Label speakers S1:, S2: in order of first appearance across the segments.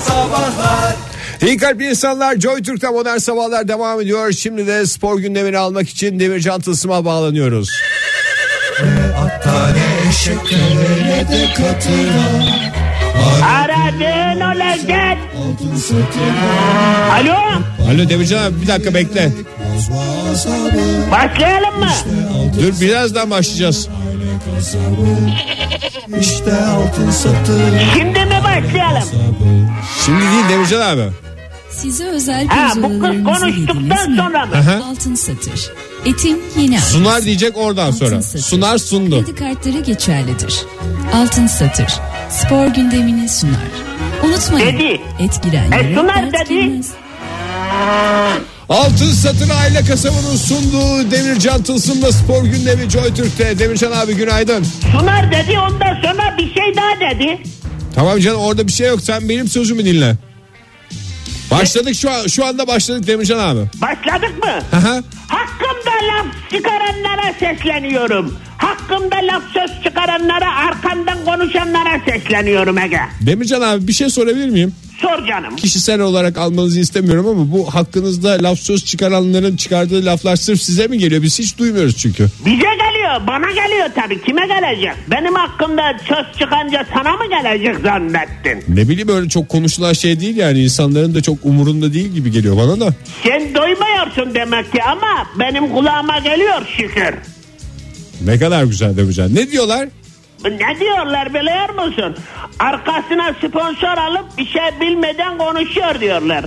S1: Sabahlar
S2: İyi kalpli insanlar Joy Türk'te modern sabahlar devam ediyor. Şimdi de spor gündemini almak için Demircan Tılsım'a bağlanıyoruz.
S1: Şekerle de katıra
S3: Aradığın o lezzet.
S1: Altın satıra
S3: Alo
S2: Alo Demircan abi bir dakika bekle.
S1: Bozma asabı
S3: başlayalım mı?
S2: Dur birazdan başlayacağız.
S1: Aile kasabı İşte altın satıra
S3: Şimdi mi başlayalım?
S2: Şimdi değil Demircan abi.
S4: Size özel
S3: Ha bu kız
S4: pirzolarımızı
S3: konuştuktan
S4: yediniz mi?
S3: sonra mı?
S2: Aha.
S4: Altın satır. Etin yeni adı.
S2: Sunar diyecek oradan sonra.
S4: Altın satır.
S2: Sunar sundu.
S4: Kredi kartları geçerlidir. Altın satır. Spor gündemini sunar. Unutmayın.
S3: Dedi.
S4: Et girenlere
S3: E, sunar
S4: dert
S3: dedi.
S4: girmez.
S2: Altın Satır Aile Kasabı'nın sunduğu Demircan Tılsım'la spor gündemi Joy Türk'te. Demircan abi günaydın.
S3: Sunar dedi ondan sonra bir şey daha dedi.
S2: Tamam canım orada bir şey yok. Sen benim sözümü dinle. Başladık şu an, şu anda başladık Demircan abi.
S3: Başladık mı?
S2: Aha.
S3: Hakkımda laf çıkaranlara sesleniyorum. Hakkımda laf söz çıkaranlara arkandan konuşanlara sesleniyorum Ege.
S2: Demircan abi bir şey sorabilir miyim?
S3: Sor canım.
S2: Kişisel olarak almanızı istemiyorum ama bu hakkınızda laf söz çıkaranların çıkardığı laflar sırf size mi geliyor? Biz hiç duymuyoruz çünkü.
S3: Bize geliyor, bana geliyor tabii. Kime gelecek? Benim hakkımda söz çıkanca sana mı gelecek zannettin?
S2: Ne bileyim öyle çok konuşulan şey değil yani insanların da çok umurunda değil gibi geliyor bana da.
S3: Sen doymuyorsun demek ki ama benim kulağıma geliyor şükür.
S2: Ne kadar güzel Demircan. Ne diyorlar?
S3: Ne diyorlar biliyor musun? Arkasına sponsor alıp bir şey bilmeden konuşuyor diyorlar.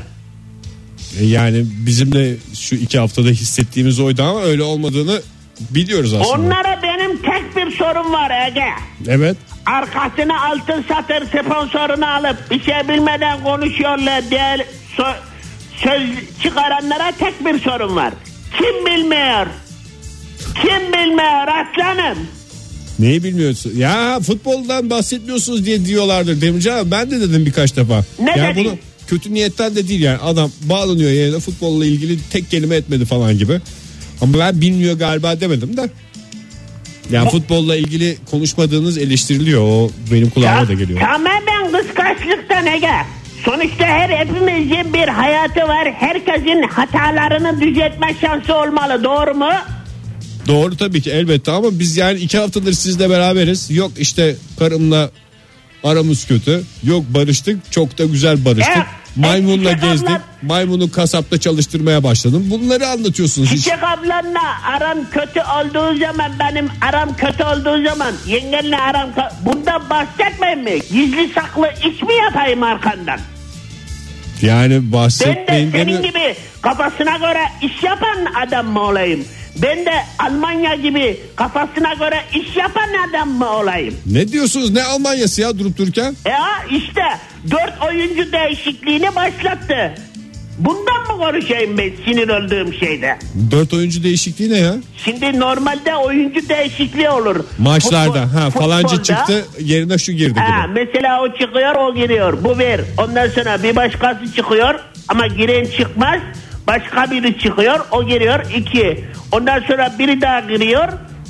S2: E Yani bizim de şu iki haftada hissettiğimiz oydu ama öyle olmadığını biliyoruz aslında.
S3: Onlara benim tek bir sorum var Ege.
S2: Evet.
S3: Arkasına altın satır sponsorunu alıp bir şey bilmeden konuşuyorlar diye so- söz çıkaranlara tek bir sorum var. Kim bilmiyor? Kim bilmiyor aslanım?
S2: Neyi bilmiyorsun? Ya futboldan bahsetmiyorsunuz diye diyorlardır Demircan abi. Ben de dedim birkaç defa.
S3: Ne
S2: yani
S3: dedin?
S2: bunu kötü niyetten de değil yani. Adam bağlanıyor yayına futbolla ilgili tek kelime etmedi falan gibi. Ama ben bilmiyor galiba demedim de. Yani futbolla ilgili konuşmadığınız eleştiriliyor. O benim kulağıma da geliyor.
S3: Tamamen kıskançlıktan Ege. Sonuçta her hepimizin bir hayatı var. Herkesin hatalarını düzeltme şansı olmalı. Doğru mu?
S2: Doğru tabii ki elbette ama biz yani iki haftadır sizle beraberiz. Yok işte karımla aramız kötü. Yok barıştık. Çok da güzel barıştık.
S3: Evet,
S2: Maymunla
S3: erkek
S2: gezdik.
S3: abla-
S2: Maymunu kasapta çalıştırmaya başladım. Bunları anlatıyorsunuz hiç.
S3: Çiçek ablanla aram kötü olduğu zaman benim aram kötü olduğu zaman yengenle aram ka- bundan bahsetmeyin mi? Gizli saklı iş mi yapayım arkandan?
S2: Yani
S3: Ben de
S2: bahsetmeyin.
S3: senin
S2: demiyor-
S3: gibi kafasına göre iş yapan adam mı olayım? Ben de Almanya gibi kafasına göre iş yapan adam mı olayım?
S2: Ne diyorsunuz? Ne Almanya'sı ya durup dururken?
S3: Ya işte dört oyuncu değişikliğini başlattı. Bundan mı konuşayım ben sinir olduğum şeyde?
S2: Dört oyuncu değişikliği ne ya?
S3: Şimdi normalde oyuncu değişikliği olur.
S2: Maçlarda.
S3: Futbol-
S2: Ha falanca
S3: futbolda.
S2: çıktı yerine şu girdi
S3: Ha,
S2: gibi.
S3: mesela o çıkıyor o giriyor. Bu bir. Ondan sonra bir başkası çıkıyor ama giren çıkmaz. Başka biri çıkıyor o giriyor iki. Ondan sonra biri daha giriyor.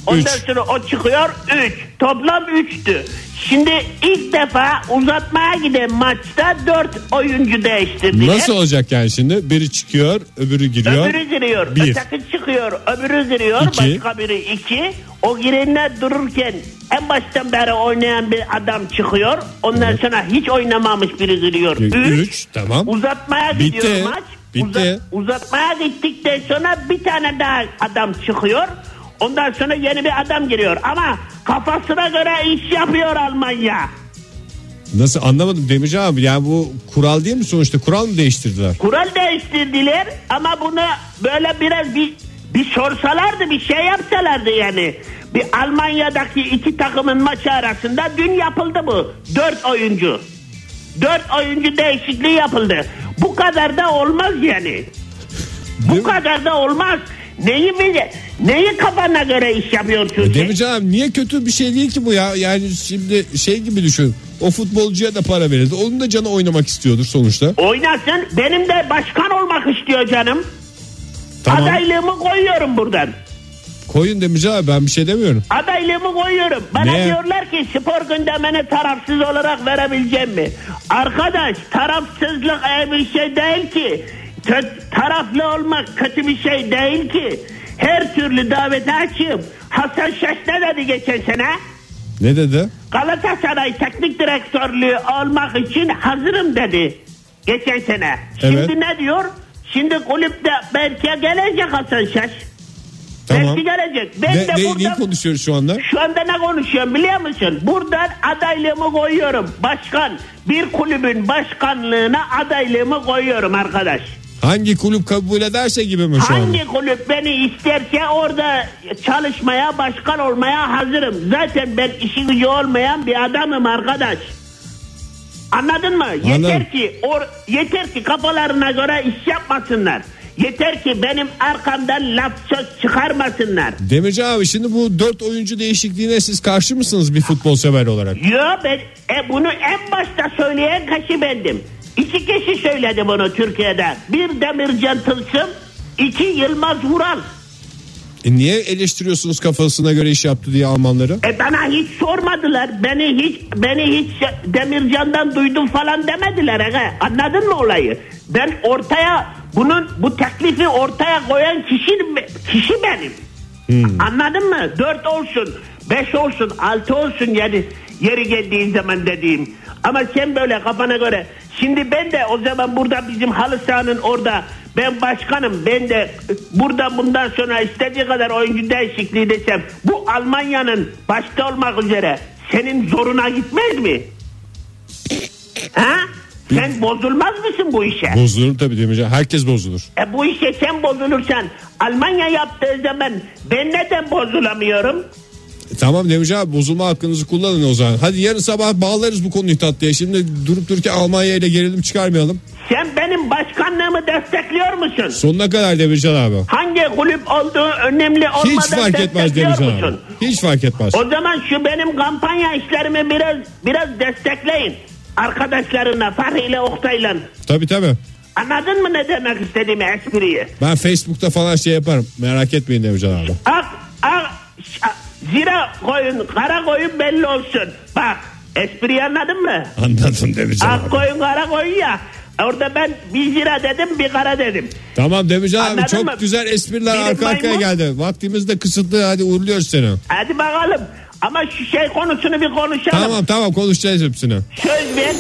S3: Ondan
S2: Üç.
S3: sonra o çıkıyor üç. Toplam üçtü. Şimdi ilk defa uzatmaya giden maçta dört oyuncu değiştirdiler.
S2: Nasıl olacak yani şimdi? Biri çıkıyor, öbürü giriyor.
S3: Öbürü giriyor.
S2: Bir.
S3: Öteki çıkıyor. Öbürü giriyor.
S2: İki.
S3: Başka biri iki. O girenler dururken en baştan beri oynayan bir adam çıkıyor. Ondan sonra hiç oynamamış biri giriyor.
S2: Üç,
S3: Üç.
S2: tamam.
S3: Uzatmaya
S2: Bitti.
S3: gidiyor maç.
S2: Bitti.
S3: Uza- uzatmaya gittikten sonra bir tane daha adam çıkıyor. Ondan sonra yeni bir adam giriyor. Ama kafasına göre iş yapıyor Almanya.
S2: Nasıl anlamadım Demircan abi yani bu kural değil mi sonuçta kural mı değiştirdiler?
S3: Kural değiştirdiler ama bunu böyle biraz bir bir sorsalardı bir şey yapsalardı yani. Bir Almanya'daki iki takımın maçı arasında dün yapıldı bu. Dört oyuncu. Dört oyuncu değişikliği yapıldı. Bu kadar da olmaz yani. Bu
S2: Değil mi?
S3: kadar da olmaz. Neyi bile, neyi kafana göre iş yapıyorsun? sen?
S2: Demircan E abi niye kötü bir şey değil ki bu ya yani şimdi şey gibi düşün o futbolcuya da para verildi onun da canı oynamak istiyordur sonuçta.
S3: Oynasın. Benim de başkan olmak istiyor canım.
S2: Tamam
S3: Adaylığımı koyuyorum buradan.
S2: koyun Demircan abi ben bir şey demiyorum.
S3: Adaylığımı koyuyorum. Bana
S2: Ne?
S3: diyorlar ki spor gündemini tarafsız olarak verebileceğim mi? Arkadaş tarafsızlık iyi bir şey değil ki. Kö- taraflı olmak kötü bir şey değil ki. Her türlü davete açığım. Hasan Şaş ne dedi geçen sene?
S2: Ne dedi?
S3: Galatasaray teknik direktörlüğü almak için hazırım dedi. Geçen sene.
S2: Evet.
S3: Şimdi ne diyor? Şimdi kulüpte belki gelecek Hasan Şaş.
S2: Tamam.
S3: Belki gelecek. Ben
S2: Ne,
S3: de
S2: ne, neyi
S3: burada
S2: konuşuyoruz şu anda?
S3: şu anda ne konuşuyorum biliyor musun? Buradan adaylığımı koyuyorum. Başkan bir kulübün başkanlığına adaylığımı koyuyorum arkadaş.
S2: Hangi kulüp kabul ederse gibi mi şu anda?
S3: Hangi kulüp beni isterse orada çalışmaya, başkan olmaya hazırım. Zaten ben işi gücü olmayan bir adamım arkadaş. Anladın mı?
S2: Anladım.
S3: Yeter ki or, yeter ki kafalarına göre iş yapmasınlar. Yeter ki benim arkamdan laf söz çıkarmasınlar.
S2: Demirci abi şimdi bu dört oyuncu değişikliğine siz karşı mısınız bir futbol sever olarak?
S3: Yo ben e, bunu en başta söyleyen kişi bendim. İki kişi söyledi bunu Türkiye'de. Bir Demircan Tılsım, iki Yılmaz Vural.
S2: E niye eleştiriyorsunuz kafasına göre iş yaptı diye Almanları?
S3: E bana hiç sormadılar. Beni hiç beni hiç şey, Demircan'dan duydum falan demediler. Aga. Anladın mı olayı? Ben ortaya bunun bu teklifi ortaya koyan kişi kişi benim.
S2: Hmm.
S3: Anladın mı? Dört olsun, beş olsun, altı olsun yani yeri geldiği zaman dediğim. Ama sen böyle kafana göre. Şimdi ben de o zaman burada bizim halı sahanın orada ben başkanım ben de e, burada bundan sonra istediği kadar oyuncu değişikliği desem bu Almanya'nın başta olmak üzere senin zoruna gitmez mi? Ha? Sen bozulmaz mısın bu işe?
S2: Bozulur tabii Demirci. abi. Herkes bozulur.
S3: E bu işe sen bozulursan Almanya yaptığı zaman ben neden bozulamıyorum?
S2: E tamam Demirci abi bozulma hakkınızı kullanın o zaman. Hadi yarın sabah bağlarız bu konuyu tatlıya. Şimdi durup dururken Almanya ile gerilim çıkarmayalım.
S3: Sen benim başkanlığımı destekliyor musun?
S2: Sonuna kadar Demircan abi.
S3: Hangi kulüp olduğu önemli olmadan
S2: Hiç fark etmez
S3: destekliyor
S2: Demircan abi.
S3: musun?
S2: Hiç fark etmez.
S3: O zaman şu benim kampanya işlerimi biraz biraz destekleyin. Arkadaşlarına Fahri ile Oktay'la.
S2: Tabii tabii.
S3: Anladın mı ne demek istediğimi espriyi?
S2: Ben Facebook'ta falan şey yaparım. Merak etmeyin Demircan abi.
S3: Ak, ak, ş- zira koyun, kara koyun belli olsun. Bak espriyi anladın mı?
S2: Anladım Demircan
S3: Ak
S2: abi.
S3: koyun kara koyun ya. Orada ben bir zira dedim bir kara dedim.
S2: Tamam Demircan abi
S3: Anladın
S2: çok
S3: mı?
S2: güzel espriler
S3: Benim
S2: arka arkaya
S3: maymun-
S2: geldi. Vaktimiz de kısıtlı hadi uğurluyoruz seni.
S3: Hadi bakalım. Ama şu şey konusunu bir konuşalım.
S2: Tamam tamam konuşacağız hepsini.
S3: Söz ver.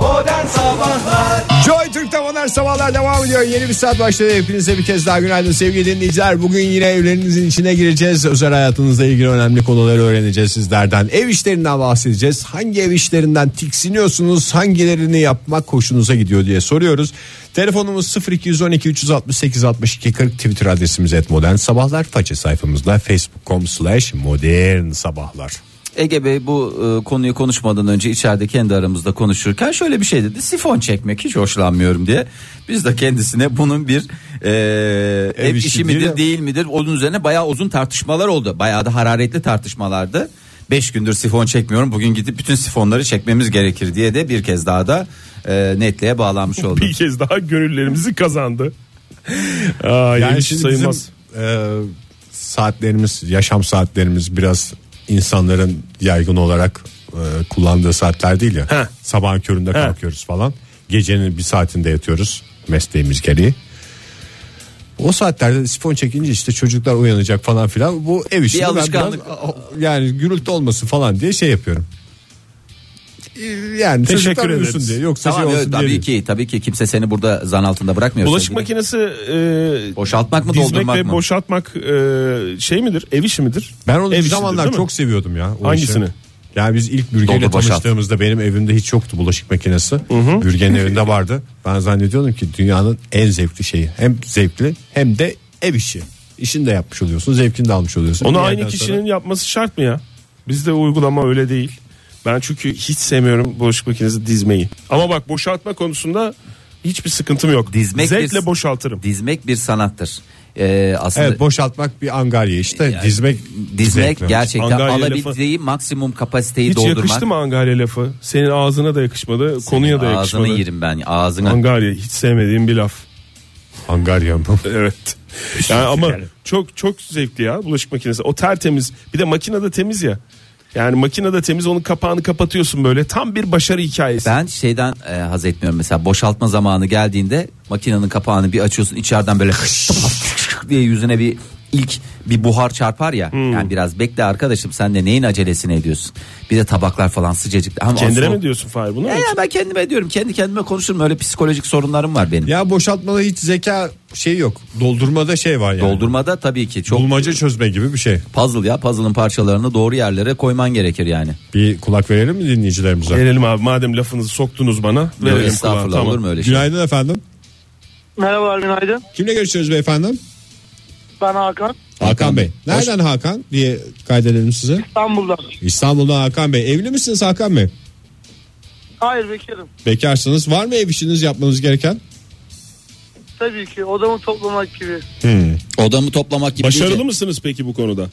S5: Modern Sabahlar
S2: Joy Türk'te modern sabahlar devam ediyor. Yeni bir saat başladı. Hepinize bir kez daha günaydın sevgili dinleyiciler. Bugün yine evlerinizin içine gireceğiz. Özel hayatınızla ilgili önemli konuları öğreneceğiz sizlerden. Ev işlerinden bahsedeceğiz. Hangi ev işlerinden tiksiniyorsunuz? Hangilerini yapmak hoşunuza gidiyor diye soruyoruz. Telefonumuz 0212 368 62 40 Twitter adresimiz et modern sabahlar. Faça sayfamızda facebook.com slash modern sabahlar.
S5: Ege Bey bu e, konuyu konuşmadan önce içeride kendi aramızda konuşurken şöyle bir şey dedi. Sifon çekmek hiç hoşlanmıyorum diye. Biz de kendisine bunun bir e, ev,
S2: işi
S5: işi
S2: değil
S5: midir
S2: mi?
S5: değil midir onun üzerine bayağı uzun tartışmalar oldu. Bayağı da hararetli tartışmalardı. 5 gündür sifon çekmiyorum. Bugün gidip bütün sifonları çekmemiz gerekir diye de bir kez daha da e, netliğe bağlanmış oldu.
S6: bir kez daha gönüllerimizi kazandı. Aa, yani sayılmaz.
S2: bizim e, saatlerimiz, yaşam saatlerimiz biraz insanların yaygın olarak e, kullandığı saatler değil ya.
S6: Heh.
S2: Sabahın köründe kalkıyoruz falan. Gecenin bir saatinde yatıyoruz mesleğimiz gereği. O saatlerde sifon çekince işte çocuklar uyanacak falan filan. Bu ev işini ben
S5: alışkanlık.
S2: biraz, o- yani gürültü olmasın falan diye şey yapıyorum. E, Yani
S6: Teşekkür
S2: çocuklar
S6: ederiz.
S2: uyusun diye yoksa
S5: Tamam
S2: şey
S5: evet,
S2: olsun diye.
S5: tabii
S2: değil.
S5: ki tabii ki kimse seni burada zan altında bırakmıyor.
S6: Bulaşık
S5: sevgili.
S6: makinesi e,
S5: Boşaltmak mı,
S6: dizmek
S5: doldurmak
S6: ve
S5: mı?
S6: boşaltmak e, şey midir? Ev işi midir?
S2: Ben onu
S6: Ev
S2: bir
S6: işidir,
S2: zamanlar
S6: değil mi?
S2: çok seviyordum ya. o
S6: Hangisini?
S2: işi. Yani biz ilk bürgeyle
S5: Doldu, boşalt.
S2: tanıştığımızda benim evimde hiç yoktu bulaşık makinesi. Bürgenin evinde vardı. Ben zannediyordum ki dünyanın en zevkli şeyi. Hem zevkli hem de ev işi. İşini de yapmış oluyorsun, zevkini de almış oluyorsun.
S6: Onu
S2: Bir
S6: aynı
S2: yerden sonra-
S6: kişinin yapması şart mı ya? Bizde uygulama öyle değil. Ben çünkü hiç sevmiyorum bulaşık makinesi dizmeyi. Ama bak boşaltma konusunda hiçbir sıkıntım yok.
S5: Dizmek
S6: Zevkle
S5: bir-
S6: boşaltırım.
S5: Dizmek bir sanattır. Ee, aslında
S2: Evet boşaltmak bir angarya işte
S5: Yani
S2: dizmek
S5: dizmek
S2: zevkli.
S5: gerçekten
S6: Angarya
S5: alabildiği maksimum kapasiteyi
S6: Hiç
S5: doldurmak.
S6: yakıştı mı Angarya lafı? Senin ağzına da yakışmadı, konuya da
S5: Ağzını
S6: yakışmadı.
S5: yerim ben ağzına.
S6: Angarya hiç sevmediğim bir laf.
S2: Angarya mı?
S6: Evet.
S5: şey
S6: Yani ama çok çok zevkli ya bulaşık makinesi. O tertemiz. Bir de makine de temiz ya. Yani makinede temiz onun kapağını kapatıyorsun böyle. Tam bir başarı hikayesi.
S5: Ben şeyden e, haz etmiyorum mesela boşaltma zamanı geldiğinde makinenin kapağını bir açıyorsun içeriden böyle diye yüzüne bir ilk bir buhar çarpar ya.
S6: Hmm.
S5: Yani biraz bekle arkadaşım sen de neyin acelesini ediyorsun. Bir de tabaklar falan sıcacık. Ama
S6: Kendine
S5: asıl-
S6: mi diyorsun Fahir bunu?
S5: E ya ben kendime diyorum kendi kendime konuşurum öyle psikolojik sorunlarım var benim.
S2: Ya boşaltmada hiç zeka şey yok. Doldurmada şey var yani.
S5: Doldurmada tabii ki çok
S2: Bulmaca çözme gibi bir şey.
S5: puzzle ya puzzle'ın parçalarını doğru yerlere koyman gerekir yani.
S2: Bir kulak verelim mi dinleyicilerimize?
S6: Verelim abi madem lafınızı soktunuz bana.
S5: Yok,
S6: Verelim
S5: estağfurullah
S6: kulağa. Tamam.
S5: olur mu öyle şey?
S2: Günaydın efendim.
S7: Merhaba günaydın.
S2: Kimle görüşüyoruz beyefendi?
S7: Ben Hakan.
S2: Hakan Bey. Nereden Hakan diye kaydedelim sizi.
S7: İstanbul'dan.
S2: İstanbul'dan Hakan Bey. Evli misiniz Hakan Bey?
S7: Hayır bekarım.
S2: Bekarsınız. Var mı ev işiniz yapmanız gereken?
S7: Tabii ki odamı toplamak gibi.
S6: Hmm.
S5: Odamı toplamak gibi.
S6: Başarılı
S5: değil de-
S6: mısınız peki bu konuda?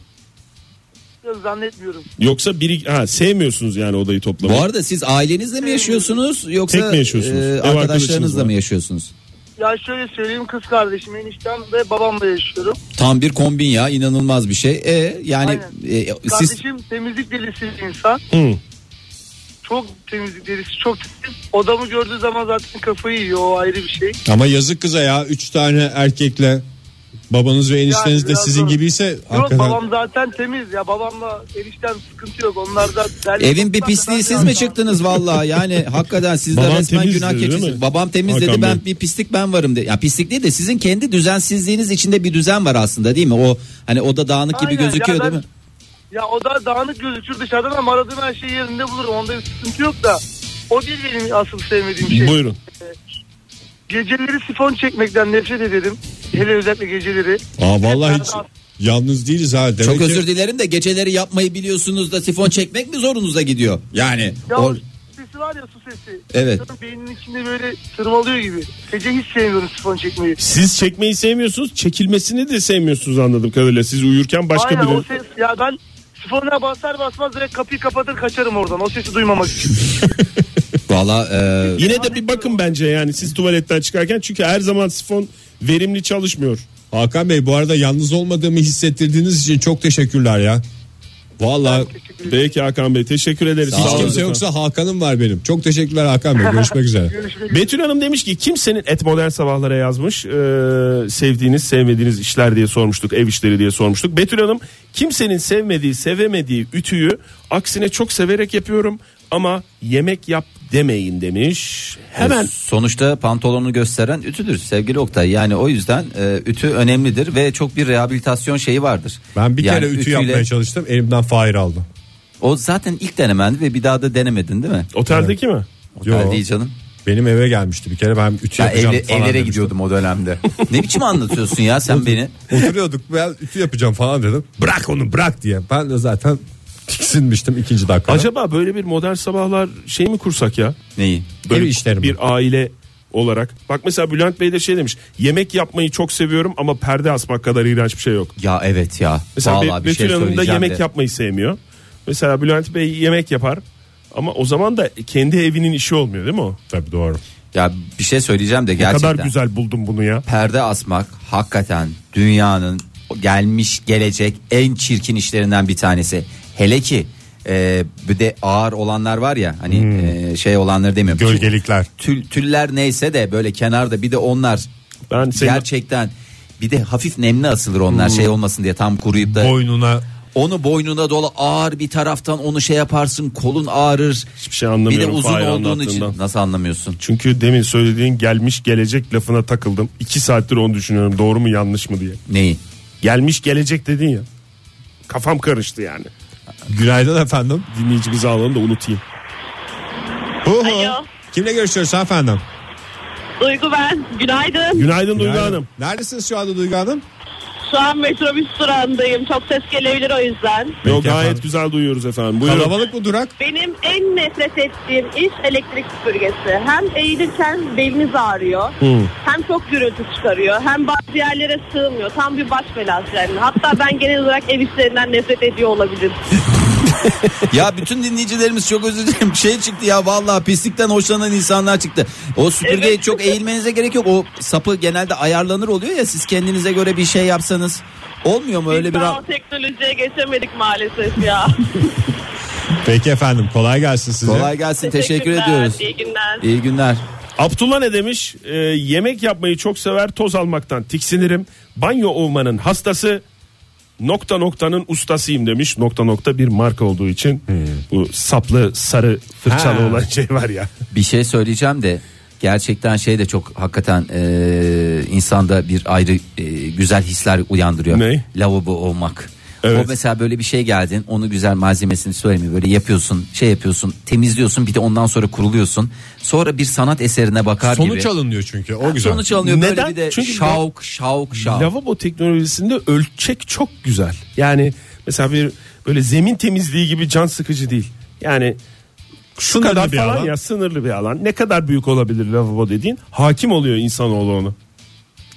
S7: Biraz Zannetmiyorum.
S6: Yoksa biri ha, sevmiyorsunuz yani odayı toplamayı.
S5: Bu arada siz ailenizle mi yaşıyorsunuz yoksa
S6: Tek mi yaşıyorsunuz?
S5: e,
S6: Ev arkadaşınız
S5: arkadaşlarınızla
S6: var.
S5: mı yaşıyorsunuz?
S7: Ya şöyle söyleyeyim kız kardeşim eniştem ve babamla yaşıyorum.
S5: Tam bir kombin ya inanılmaz bir şey. E yani
S7: Aynen.
S5: e, siz
S7: Kardeşim temizlik delisi bir insan.
S6: Hı.
S7: Çok temizlik delisi çok temiz. Odamı gördüğü zaman zaten kafayı yiyor o ayrı bir şey.
S2: Ama yazık kıza ya. Üç tane erkekle babanız ve enişteniz de
S7: biraz
S2: sizin
S7: zor.
S2: gibiyse
S7: Yok
S2: hakikaten
S7: babam zaten temiz ya babamla eniştem sıkıntı yok onlar da derli
S5: evin
S7: toplar
S5: bir
S7: kadar
S5: pisliği siz
S7: bir
S5: mi
S7: adam.
S5: çıktınız vallahi yani hakikaten siz de
S6: Babam
S5: resmen
S6: temiz
S5: günah
S6: dedi, değil
S5: keçisiniz.
S6: mi?
S5: Babam temiz
S6: Hakan
S5: dedi ben
S6: Bey.
S5: bir pislik ben varım dedi. Ya pislik değil de sizin kendi düzensizliğiniz içinde bir düzen var aslında değil mi? O hani oda dağınık gibi
S7: Aynen, ya
S5: gözüküyor
S7: ben-
S5: değil mi?
S7: Ya o da dağınık gözükür dışarıdan ama aradığım her şeyi yerinde bulurum onda bir sıkıntı yok da. O değil benim asıl sevmediğim şey.
S6: Buyurun.
S7: Geceleri sifon çekmekten nefret ederim. Hele özellikle geceleri.
S2: Aa vallahi
S7: Hep
S2: hiç
S7: berbat.
S2: yalnız değiliz ha. Demek
S5: Çok
S2: ki
S5: özür dilerim de geceleri yapmayı biliyorsunuz da sifon çekmek mi zorunuza gidiyor? Yani
S7: Ya
S5: o-
S7: o sesi var ya su sesi.
S5: Evet.
S7: İnsanın Beyninin içinde böyle tırmalıyor gibi. Gece hiç sevmiyorum sifon çekmeyi.
S6: Siz çekmeyi sevmiyorsunuz, çekilmesini de sevmiyorsunuz anladım kadarıyla. Siz uyurken başka
S7: Aynen
S6: biri.
S7: o ses. Ya ben sifona basar basmaz direkt kapıyı kapatır kaçarım oradan. O sesi duymamak için.
S5: valla e,
S6: Yine de bir bakın bence yani siz tuvaletten çıkarken çünkü her zaman sifon verimli çalışmıyor.
S2: Hakan Bey bu arada yalnız olmadığımı hissettirdiğiniz için çok teşekkürler ya. Vallahi
S6: Peki Hakan Bey teşekkür ederiz.
S5: Sağ
S2: hiç
S5: olun
S2: kimse
S6: efendim.
S2: yoksa Hakan'ım var benim. Çok teşekkürler Hakan Bey. Görüşmek üzere.
S6: Betül Hanım demiş ki kimsenin et modern sabahlara yazmış. Ee, sevdiğiniz sevmediğiniz işler diye sormuştuk. Ev işleri diye sormuştuk. Betül Hanım kimsenin sevmediği sevemediği ütüyü aksine çok severek yapıyorum. Ama yemek yap demeyin demiş.
S2: E,
S6: Hemen
S5: Sonuçta pantolonu gösteren ütüdür sevgili Oktay. Yani o yüzden e, ütü önemlidir ve çok bir rehabilitasyon şeyi vardır.
S2: Ben bir
S5: Yani
S2: kere
S5: ütüyle-
S2: ütü yapmaya çalıştım. Elimden fire aldı.
S5: O zaten ilk denemendi ve bir daha da denemedin değil mi?
S6: oteldeki mi?
S2: Yo.
S5: Ha, değil canım.
S2: Benim eve gelmişti bir kere ben ütü
S5: Ben
S2: yapacağım
S5: evle-
S2: falan
S5: evlere
S2: demiştim.
S5: gidiyordum o dönemde. ne biçim anlatıyorsun ya sen beni?
S2: Oturuyorduk ben ütü yapacağım falan dedim. Bırak onu bırak diye. Ben de zaten tiksinmiştim ikinci dakika.
S6: Acaba böyle bir modern sabahlar şey mi kursak ya?
S5: Neyi?
S6: Böyle
S2: Ev işleri mi?
S6: bir aile olarak. Bak mesela Bülent Bey de şey demiş. Yemek yapmayı çok seviyorum ama perde asmak kadar iğrenç bir şey yok.
S5: Ya evet ya.
S6: Mesela
S5: Vallahi
S6: Be-
S5: bir şey
S6: Betül Hanım da
S5: söyleyeceğim
S6: yemek
S5: de.
S6: yapmayı sevmiyor. Mesela Bülent Bey yemek yapar ama o zaman da kendi evinin işi olmuyor değil mi o?
S2: Tabii doğru.
S5: Ya bir şey söyleyeceğim de
S6: Ne
S5: gerçekten.
S6: kadar güzel buldum bunu ya.
S5: Perde asmak hakikaten dünyanın gelmiş gelecek en çirkin işlerinden bir tanesi. Hele ki e, bir de ağır olanlar var ya hani
S6: Hmm.
S5: e, şey olanları demiyorum.
S2: Gölgelikler.
S5: Tül, tüller neyse de böyle kenarda bir de onlar
S6: Ben senin- Hmm.
S5: gerçekten bir de hafif nemli asılır onlar şey olmasın diye tam kuruyup da
S2: Boynuna
S5: onu boynuna dolu ağır bir taraftan onu şey yaparsın kolun ağrır.
S6: Hiçbir şey
S5: Bir de
S6: anlamıyorum.
S5: uzun
S6: Fahir
S5: olduğun için
S6: anlattığından.
S5: nasıl anlamıyorsun?
S6: Çünkü demin söylediğin gelmiş gelecek lafına takıldım. İki saattir onu düşünüyorum doğru mu yanlış mı diye.
S5: Neyi?
S6: Gelmiş gelecek dedin ya. Kafam karıştı yani.
S2: günaydın efendim.
S6: Dinleyicimizi alalım da unutayım.
S2: Hu hu.
S8: Alo.
S2: Kimle görüşüyoruz efendim?
S8: Duygu ben. Günaydın.
S6: Günaydın Duygu Hanım.
S2: Neredesiniz şu anda Duygu Hanım?
S8: Şu an metrobüs durağındayım. Çok ses gelebilir o yüzden.
S6: Yok
S2: Peki
S6: gayet
S2: efendim.
S6: güzel duyuyoruz efendim. Buyurun.
S2: Kalabalık mı durak?
S8: Benim en nefret ettiğim iş elektrik süpürgesi. Hem eğilirken beliniz ağrıyor.
S2: Hmm.
S8: Hem çok gürültü çıkarıyor. Hem bazı yerlere sığmıyor. Tam bir baş belası yani. Hatta ben genel olarak ev işlerinden nefret ediyor olabilirim.
S5: ya bütün dinleyicilerimiz çok özür dilerim. Şey çıktı ya vallahi pislikten hoşlanan insanlar çıktı. O süpürgeye
S8: Evet.
S5: çok eğilmenize gerek yok. O sapı genelde ayarlanır oluyor ya siz kendinize göre bir şey yapsanız. Olmuyor mu öyle
S8: Biz
S5: bir
S8: daha o teknolojiye geçemedik maalesef ya.
S2: Peki efendim kolay gelsin size.
S5: Kolay gelsin. Teşekkür
S8: Teşekkürler,
S5: ediyoruz.
S8: İyi günler.
S5: İyi günler.
S6: Abdullah ne demiş? Ee, yemek yapmayı çok sever toz almaktan tiksinirim. Banyo ovmanın hastası nokta noktanın ustasıyım demiş. Nokta nokta bir marka olduğu için bu saplı sarı fırçalı
S2: Ha.
S6: olan şey var ya.
S5: Bir şey söyleyeceğim de gerçekten şey de çok hakikaten e, insanda bir ayrı e, güzel hisler uyandırıyor.
S6: Ne?
S5: Lavabo olmak.
S6: Evet.
S5: O mesela böyle bir şey geldin onu güzel malzemesini söylemiyor böyle yapıyorsun şey yapıyorsun temizliyorsun bir de ondan sonra kuruluyorsun sonra bir sanat eserine bakar gibi.
S2: Sonuç alınıyor çünkü o güzel.
S5: Sonuç alınıyor
S6: Neden?
S5: böyle bir de
S6: Çünkü
S5: şauk şauk şauk.
S6: Lavabo teknolojisinde ölçek çok güzel. Yani mesela bir böyle zemin temizliği gibi can sıkıcı değil. Yani şu
S2: Sınırlı
S6: kadar
S2: bir
S6: falan
S2: alan.
S6: ya sınırlı bir alan. Ne kadar büyük olabilir lavabo dediğin? Hakim oluyor insanoğlu onu.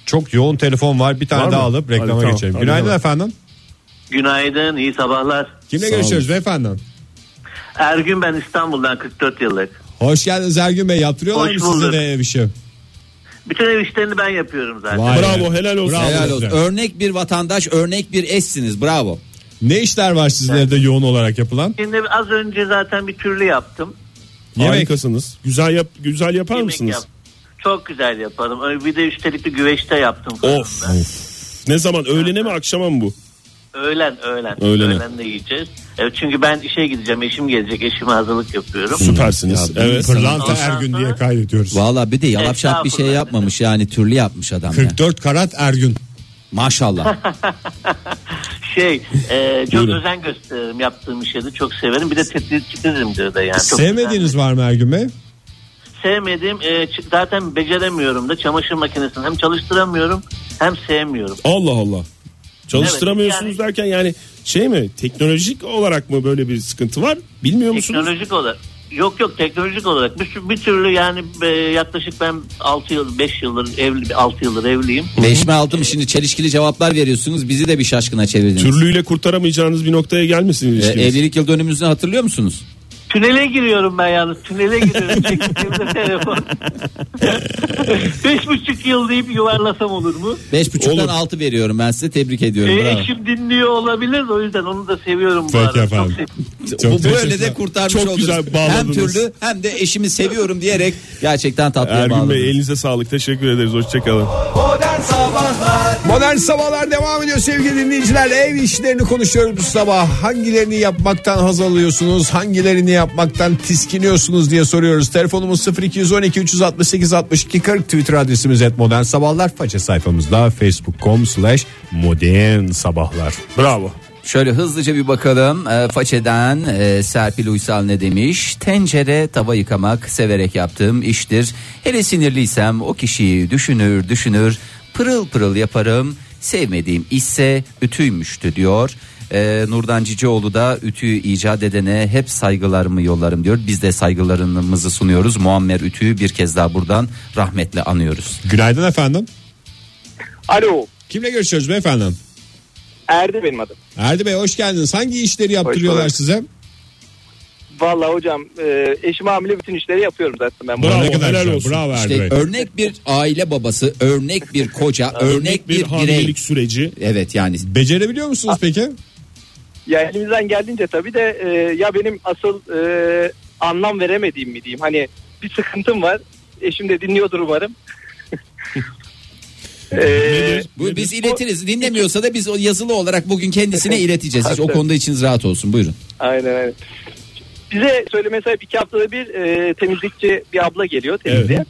S2: Çok yoğun telefon var bir tane
S6: Var
S2: daha
S6: mı?
S2: alıp reklama
S6: Hadi tamam,
S2: geçelim.
S6: hadi
S2: Günaydın
S6: tamam.
S2: efendim.
S7: Günaydın, iyi sabahlar.
S2: Kimle
S6: Sağ olun.
S2: görüşüyoruz beyefendi?
S7: Ergün ben İstanbul'dan 44 yıllık.
S2: Hoş geldiniz Ergün Bey. Yaptırıyorlar
S7: Hoş
S2: mı size
S7: bulduk.
S2: de bir şey?
S7: Bütün ev işlerini ben yapıyorum zaten.
S2: Vay
S6: Bravo,
S2: be.
S6: helal olsun.
S2: Bravo
S5: Helal
S2: size.
S5: olsun. Örnek bir vatandaş örnek bir eşsiniz bravo.
S2: Ne işler var sizin evde yoğun olarak yapılan?
S7: Şimdi az önce zaten bir türlü yaptım.
S2: Yemek.
S6: Harikasınız. Güzel yap güzel yapar
S7: Yemek
S6: mısınız?
S7: yap- Çok güzel yaparım. Öyle Bir de üstelik de güveçte yaptım.
S6: Of.
S7: fırında.
S6: Ne zaman öğlene mi akşama mı bu?
S7: Öğlen, öğlen.
S6: Öğlene.
S7: Öğlen de yiyeceğiz. Evet, çünkü ben işe gideceğim. Eşim gelecek. Eşime hazırlık yapıyorum.
S6: Süpersiniz.
S5: Ya ben
S6: evet.
S5: fırla-
S2: Hmm. Pırlanta er-
S7: Ondan
S2: Ergün
S7: sonra-
S2: diye kaydediyoruz.
S5: Valla bir de yalapşap bir şey
S7: Estağfurullah.
S5: yapmamış yani türlü yapmış adam. ya.
S2: 44 karat Ergün.
S5: Maşallah.
S7: Şey, e, çok
S6: Buyurun.
S7: özen gösteririm yaptığım işleri. Çok severim. Bir de tetikçimdir de yani. Çok
S2: Sevmediğiniz var mı Ergün Bey?
S7: güzel. Sevmediğim, e, ç- zaten beceremiyorum da çamaşır makinesini hem çalıştıramıyorum hem sevmiyorum.
S6: Allah Allah. Çalıştıramıyorsunuz
S7: Evet, yani-
S6: derken yani şey mi teknolojik olarak mı böyle bir sıkıntı var bilmiyor musunuz?
S7: Teknolojik olarak. Yok yok teknolojik olarak bir, tür- bir türlü yani e, yaklaşık ben 6 yıl 5 yıldır evli 6 yıldır evliyim.
S5: Beşme aldım şimdi çelişkili cevaplar veriyorsunuz bizi de bir şaşkına çevirdiniz.
S6: Türlüyle kurtaramayacağınız bir noktaya gelmesin
S5: Ee,
S6: ilişkiniz.
S5: evlilik yıl dönümümüzü hatırlıyor musunuz?
S7: Tünele giriyorum ben yalnız. Tünele giriyorum. Çektiğimde telefon. Beş buçuk yıl deyip yuvarlasam olur mu?
S5: Beş buçuktan
S6: Olur.
S5: altı veriyorum ben size tebrik ediyorum.
S7: Ee,
S5: bravo.
S7: eşim dinliyor olabilir de o yüzden onu da seviyorum bu
S2: Peki
S7: arada. Çok
S2: efendim.
S7: seviyorum.
S2: Çok
S5: Bu böyle
S2: teşekkürler.
S5: de kurtarmış
S6: Çok
S5: oldunuz.
S6: güzel
S5: hem
S6: bağladınız.
S5: türlü hem de eşimi seviyorum diyerek gerçekten tatlıya
S6: Ergün Bey
S5: bağladınız.
S6: elinize sağlık teşekkür ederiz hoşçakalın.
S2: Modern Sabahlar devam ediyor sevgili dinleyiciler. Ev işlerini konuşuyoruz bu sabah. Hangilerini yapmaktan haz alıyorsunuz? Hangilerini yapmaktan tiskiniyorsunuz diye soruyoruz. Telefonumuz 0212 368 62 40 Twitter adresimiz et modern sabahlar. Faça sayfamızda facebook.com slash modern sabahlar.
S6: Bravo.
S5: Şöyle hızlıca bir bakalım. Ee, façeden e, Serpil Uysal ne demiş? Tencere tava yıkamak severek yaptığım iştir. Hele sinirliysem o kişiyi düşünür düşünür pırıl pırıl yaparım. Sevmediğim işse ütüymüştü diyor. Ee, Nurdan Cicioğlu da ütüyü icat edene hep saygılarımı yollarım diyor. Biz de saygılarımızı sunuyoruz. Muammer Ütü'yü bir kez daha buradan rahmetle anıyoruz.
S2: Günaydın efendim.
S9: Alo.
S2: Kimle görüşüyoruz beyefendi?
S9: Erdi benim adım.
S2: Erdi Bey hoş geldiniz. Hangi işleri yaptırıyorlar
S9: bulduk.
S2: size?
S9: Vallahi hocam e, eşim hamile bütün işleri yapıyorum zaten ben.
S6: Bravo,
S2: Ne kadar
S6: helal
S2: güzel.
S6: olsun.
S2: Bravo Erdi
S5: İşte
S2: Bey.
S5: örnek bir aile babası, örnek bir koca, örnek
S6: bir,
S5: bir birey.
S6: hamilelik süreci.
S5: Evet yani
S2: Becerebiliyor musunuz peki?
S9: Ya elimizden geldiğince tabii de e, ya benim asıl e, anlam veremediğim mi diyeyim. Hani bir sıkıntım var. Eşim de dinliyordur umarım. e,
S6: Nedir?
S5: Bu biz iletiriz. Dinlemiyorsa da biz o yazılı olarak bugün kendisine ileteceğiz. Hiç o
S9: Tabii.
S5: konuda içiniz rahat olsun. Buyurun.
S9: aynen aynen. Bize söyleme sahip iki haftada bir e, temizlikçi bir abla geliyor temizliğe.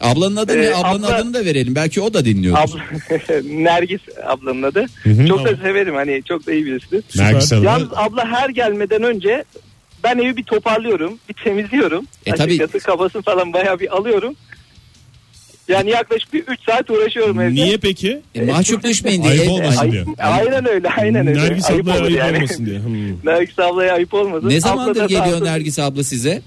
S5: Ablanın adı ne?
S9: Ee,
S5: Ablanın
S9: abla-
S5: adını da verelim. Belki o da dinliyordur.
S9: Abla, Nergis ablanın adı. çok da severim hani çok da iyi birisiniz.
S2: Nergis Hanım'ı-
S9: Yalnız abla her gelmeden önce ben evi bir toparlıyorum, bir temizliyorum.
S5: E tabii.
S9: Açıkçası kabasını falan bayağı bir alıyorum. Yani yaklaşık bir 3 saat uğraşıyorum evde.
S6: Niye peki?
S5: E, mahcup düşmeyin diye.
S2: Ayıp
S5: E,
S2: olmasın
S5: ay-
S2: diye.
S9: Aynen öyle, aynen öyle.
S6: Nergis
S9: ayıp
S6: abla
S9: olur
S6: ayıp
S9: yani.
S6: olmasın diye. Hmm.
S9: Nergis ablaya ayıp olmasın.
S5: Ne
S9: Abla da
S5: zamandır geliyor
S9: sağ olsun,
S5: Nergis abla size?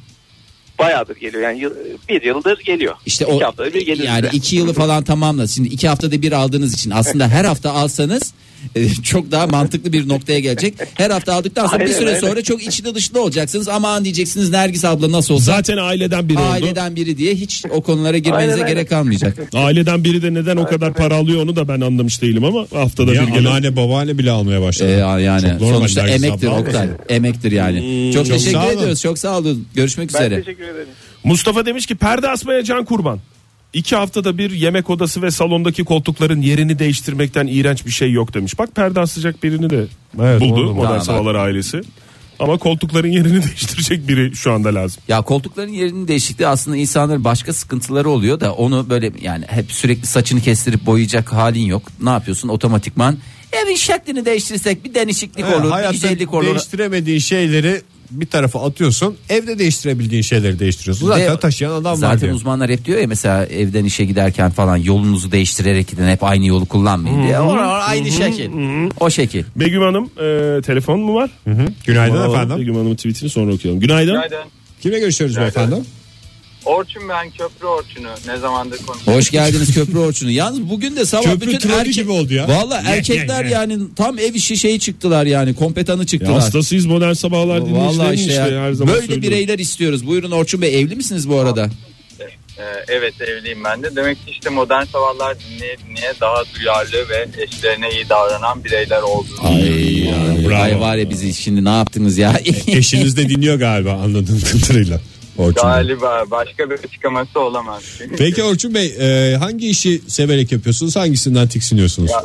S9: Bayağıdır geliyor yani yıl, bir yıldır geliyor.
S5: İşte
S9: İki
S5: o
S9: haftada bir gelir
S5: yani
S9: size.
S5: iki yılı falan tamamla. Şimdi iki haftada bir aldığınız için aslında her hafta alsanız
S10: e, çok daha mantıklı bir noktaya gelecek. Her hafta aldıktan sonra bir
S9: Aynen,
S10: süre
S9: aynen.
S10: sonra çok içli dışlı olacaksınız. Aman diyeceksiniz Nergis abla nasıl olsa
S6: Zaten aileden biri oldu.
S10: aileden biri diye hiç o konulara girmenize
S9: Aynen, aynen.
S10: gerek kalmayacak.
S6: Aileden biri de neden o kadar para alıyor onu da ben anlamış değilim ama haftada
S2: Ya
S6: bir gelen.
S2: anneanne babaanne bile almaya başladı.
S10: E, yani
S2: Çok normal
S10: sonuçta
S2: Nergis
S10: emektir
S2: abla.
S10: Oktay. Emektir yani. çok,
S2: Hmm, çok
S10: teşekkür
S2: sağ olun.
S10: ediyoruz. Çok sağ olun. Görüşmek
S9: Ben
S10: üzere.
S9: teşekkür ederim.
S6: Mustafa demiş ki perde asmaya can kurban. İki haftada bir yemek odası ve salondaki koltukların yerini değiştirmekten iğrenç bir şey yok demiş. Bak perde asacak birini de
S2: Evet,
S6: buldu
S2: oldu.
S6: modern
S5: Tamam.
S6: sabahlar ailesi. Ama koltukların yerini değiştirecek biri şu anda lazım.
S5: Ya koltukların yerinin değişikliği aslında insanların başka sıkıntıları oluyor da onu böyle yani hep sürekli saçını kestirip boyayacak halin yok. Ne yapıyorsun otomatikman evin şeklini değiştirsek bir değişiklik
S2: Ha,
S5: olur, bir
S2: hayatta
S5: güzellik olur.
S2: değiştiremediğin şeyleri bir tarafa atıyorsun. Evde değiştirebildiğin şeyleri değiştiriyorsun. Zaten
S5: Ve-
S2: taşıyan adam
S5: zaten
S2: var diyor.
S5: uzmanlar hep diyor ya mesela evden işe giderken falan yolunuzu değiştirerek gidin hep aynı yolu kullanmayın diye. Or- or- aynı şekil. O şekil.
S6: Begüm Hanım e, telefon mu var?
S2: Günaydın
S6: Alalım
S2: efendim.
S6: Begüm Hanım'ın tweetini sonra okuyalım. Günaydın.
S9: Günaydın.
S2: Kimle görüşüyoruz efendim?
S9: Orçun ben köprü Orçun'u ne zamandır konuşuyorum.
S10: Hoş geldiniz köprü orçunu. Yalnız bugün de sabah
S2: Köprü
S10: bütün
S2: trolü
S10: erkek...
S2: gibi oldu ya.
S10: Valla erkekler yani tam ev işi şeyi çıktılar yani kompetanı
S6: Ya
S10: çıktılar.
S6: hastasıyız modern sabahlar
S10: Valla
S6: dinleyicilerinin
S10: işte
S6: işte,
S10: ya,
S6: her zaman
S10: böyle
S6: söylüyorum.
S10: bireyler istiyoruz. Buyurun Orçun Bey evli misiniz bu arada?
S9: Ee, evet evliyim ben de. Demek ki işte modern sabahlar dinleye dinleye daha duyarlı ve eşlerine iyi davranan bireyler olduğunu.
S10: Ay, ay,
S2: bravo. E,
S10: ay var ya bizi şimdi ne yaptınız ya?
S2: Eşiniz de dinliyor galiba anladığım kadarıyla. Orçun Bey.
S9: Galiba başka bir açıklaması olamaz. Çünkü-
S2: Peki Orçun Bey e, hangi işi severek yapıyorsunuz? Hangisinden tiksiniyorsunuz?
S9: Ya,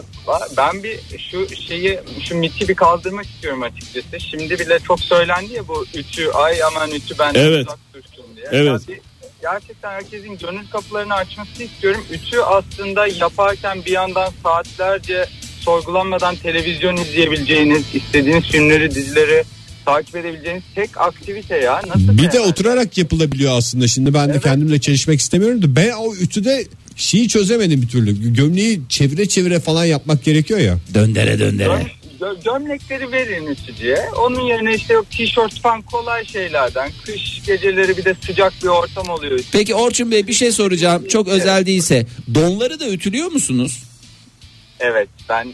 S9: ben bir şu şeyi şu miti bir kaldırmak istiyorum açıkçası. Şimdi bile çok söylendi ya bu ütü ay aman ütü ben
S6: Evet.
S9: uzak dursun diye.
S6: Evet.
S9: Ya Ee, bir- gerçekten herkesin gönül kapılarını açmasını istiyorum. Ütü aslında yaparken bir yandan saatlerce sorgulanmadan televizyon izleyebileceğiniz, istediğiniz filmleri, dizileri takip edebileceğiniz tek aktivite ya. Nasıl
S2: Bir de
S9: sevmez?
S2: oturarak yapılabiliyor aslında. Şimdi ben de kendimle çelişmek istemiyorum da ben o ütüde şeyi çözemedim bir türlü. Gömleği çevire çevire falan yapmak gerekiyor ya.
S10: döndere döndere.
S9: Göm- gö- gömlekleri verin ütücüye. Onun yerine işte yok tişört falan kolay şeylerden. Kış geceleri bir de sıcak bir ortam oluyor.
S10: Peki Orçun Bey bir şey soracağım. Çok özel değilse donları da ütülüyor musunuz?
S9: Evet ben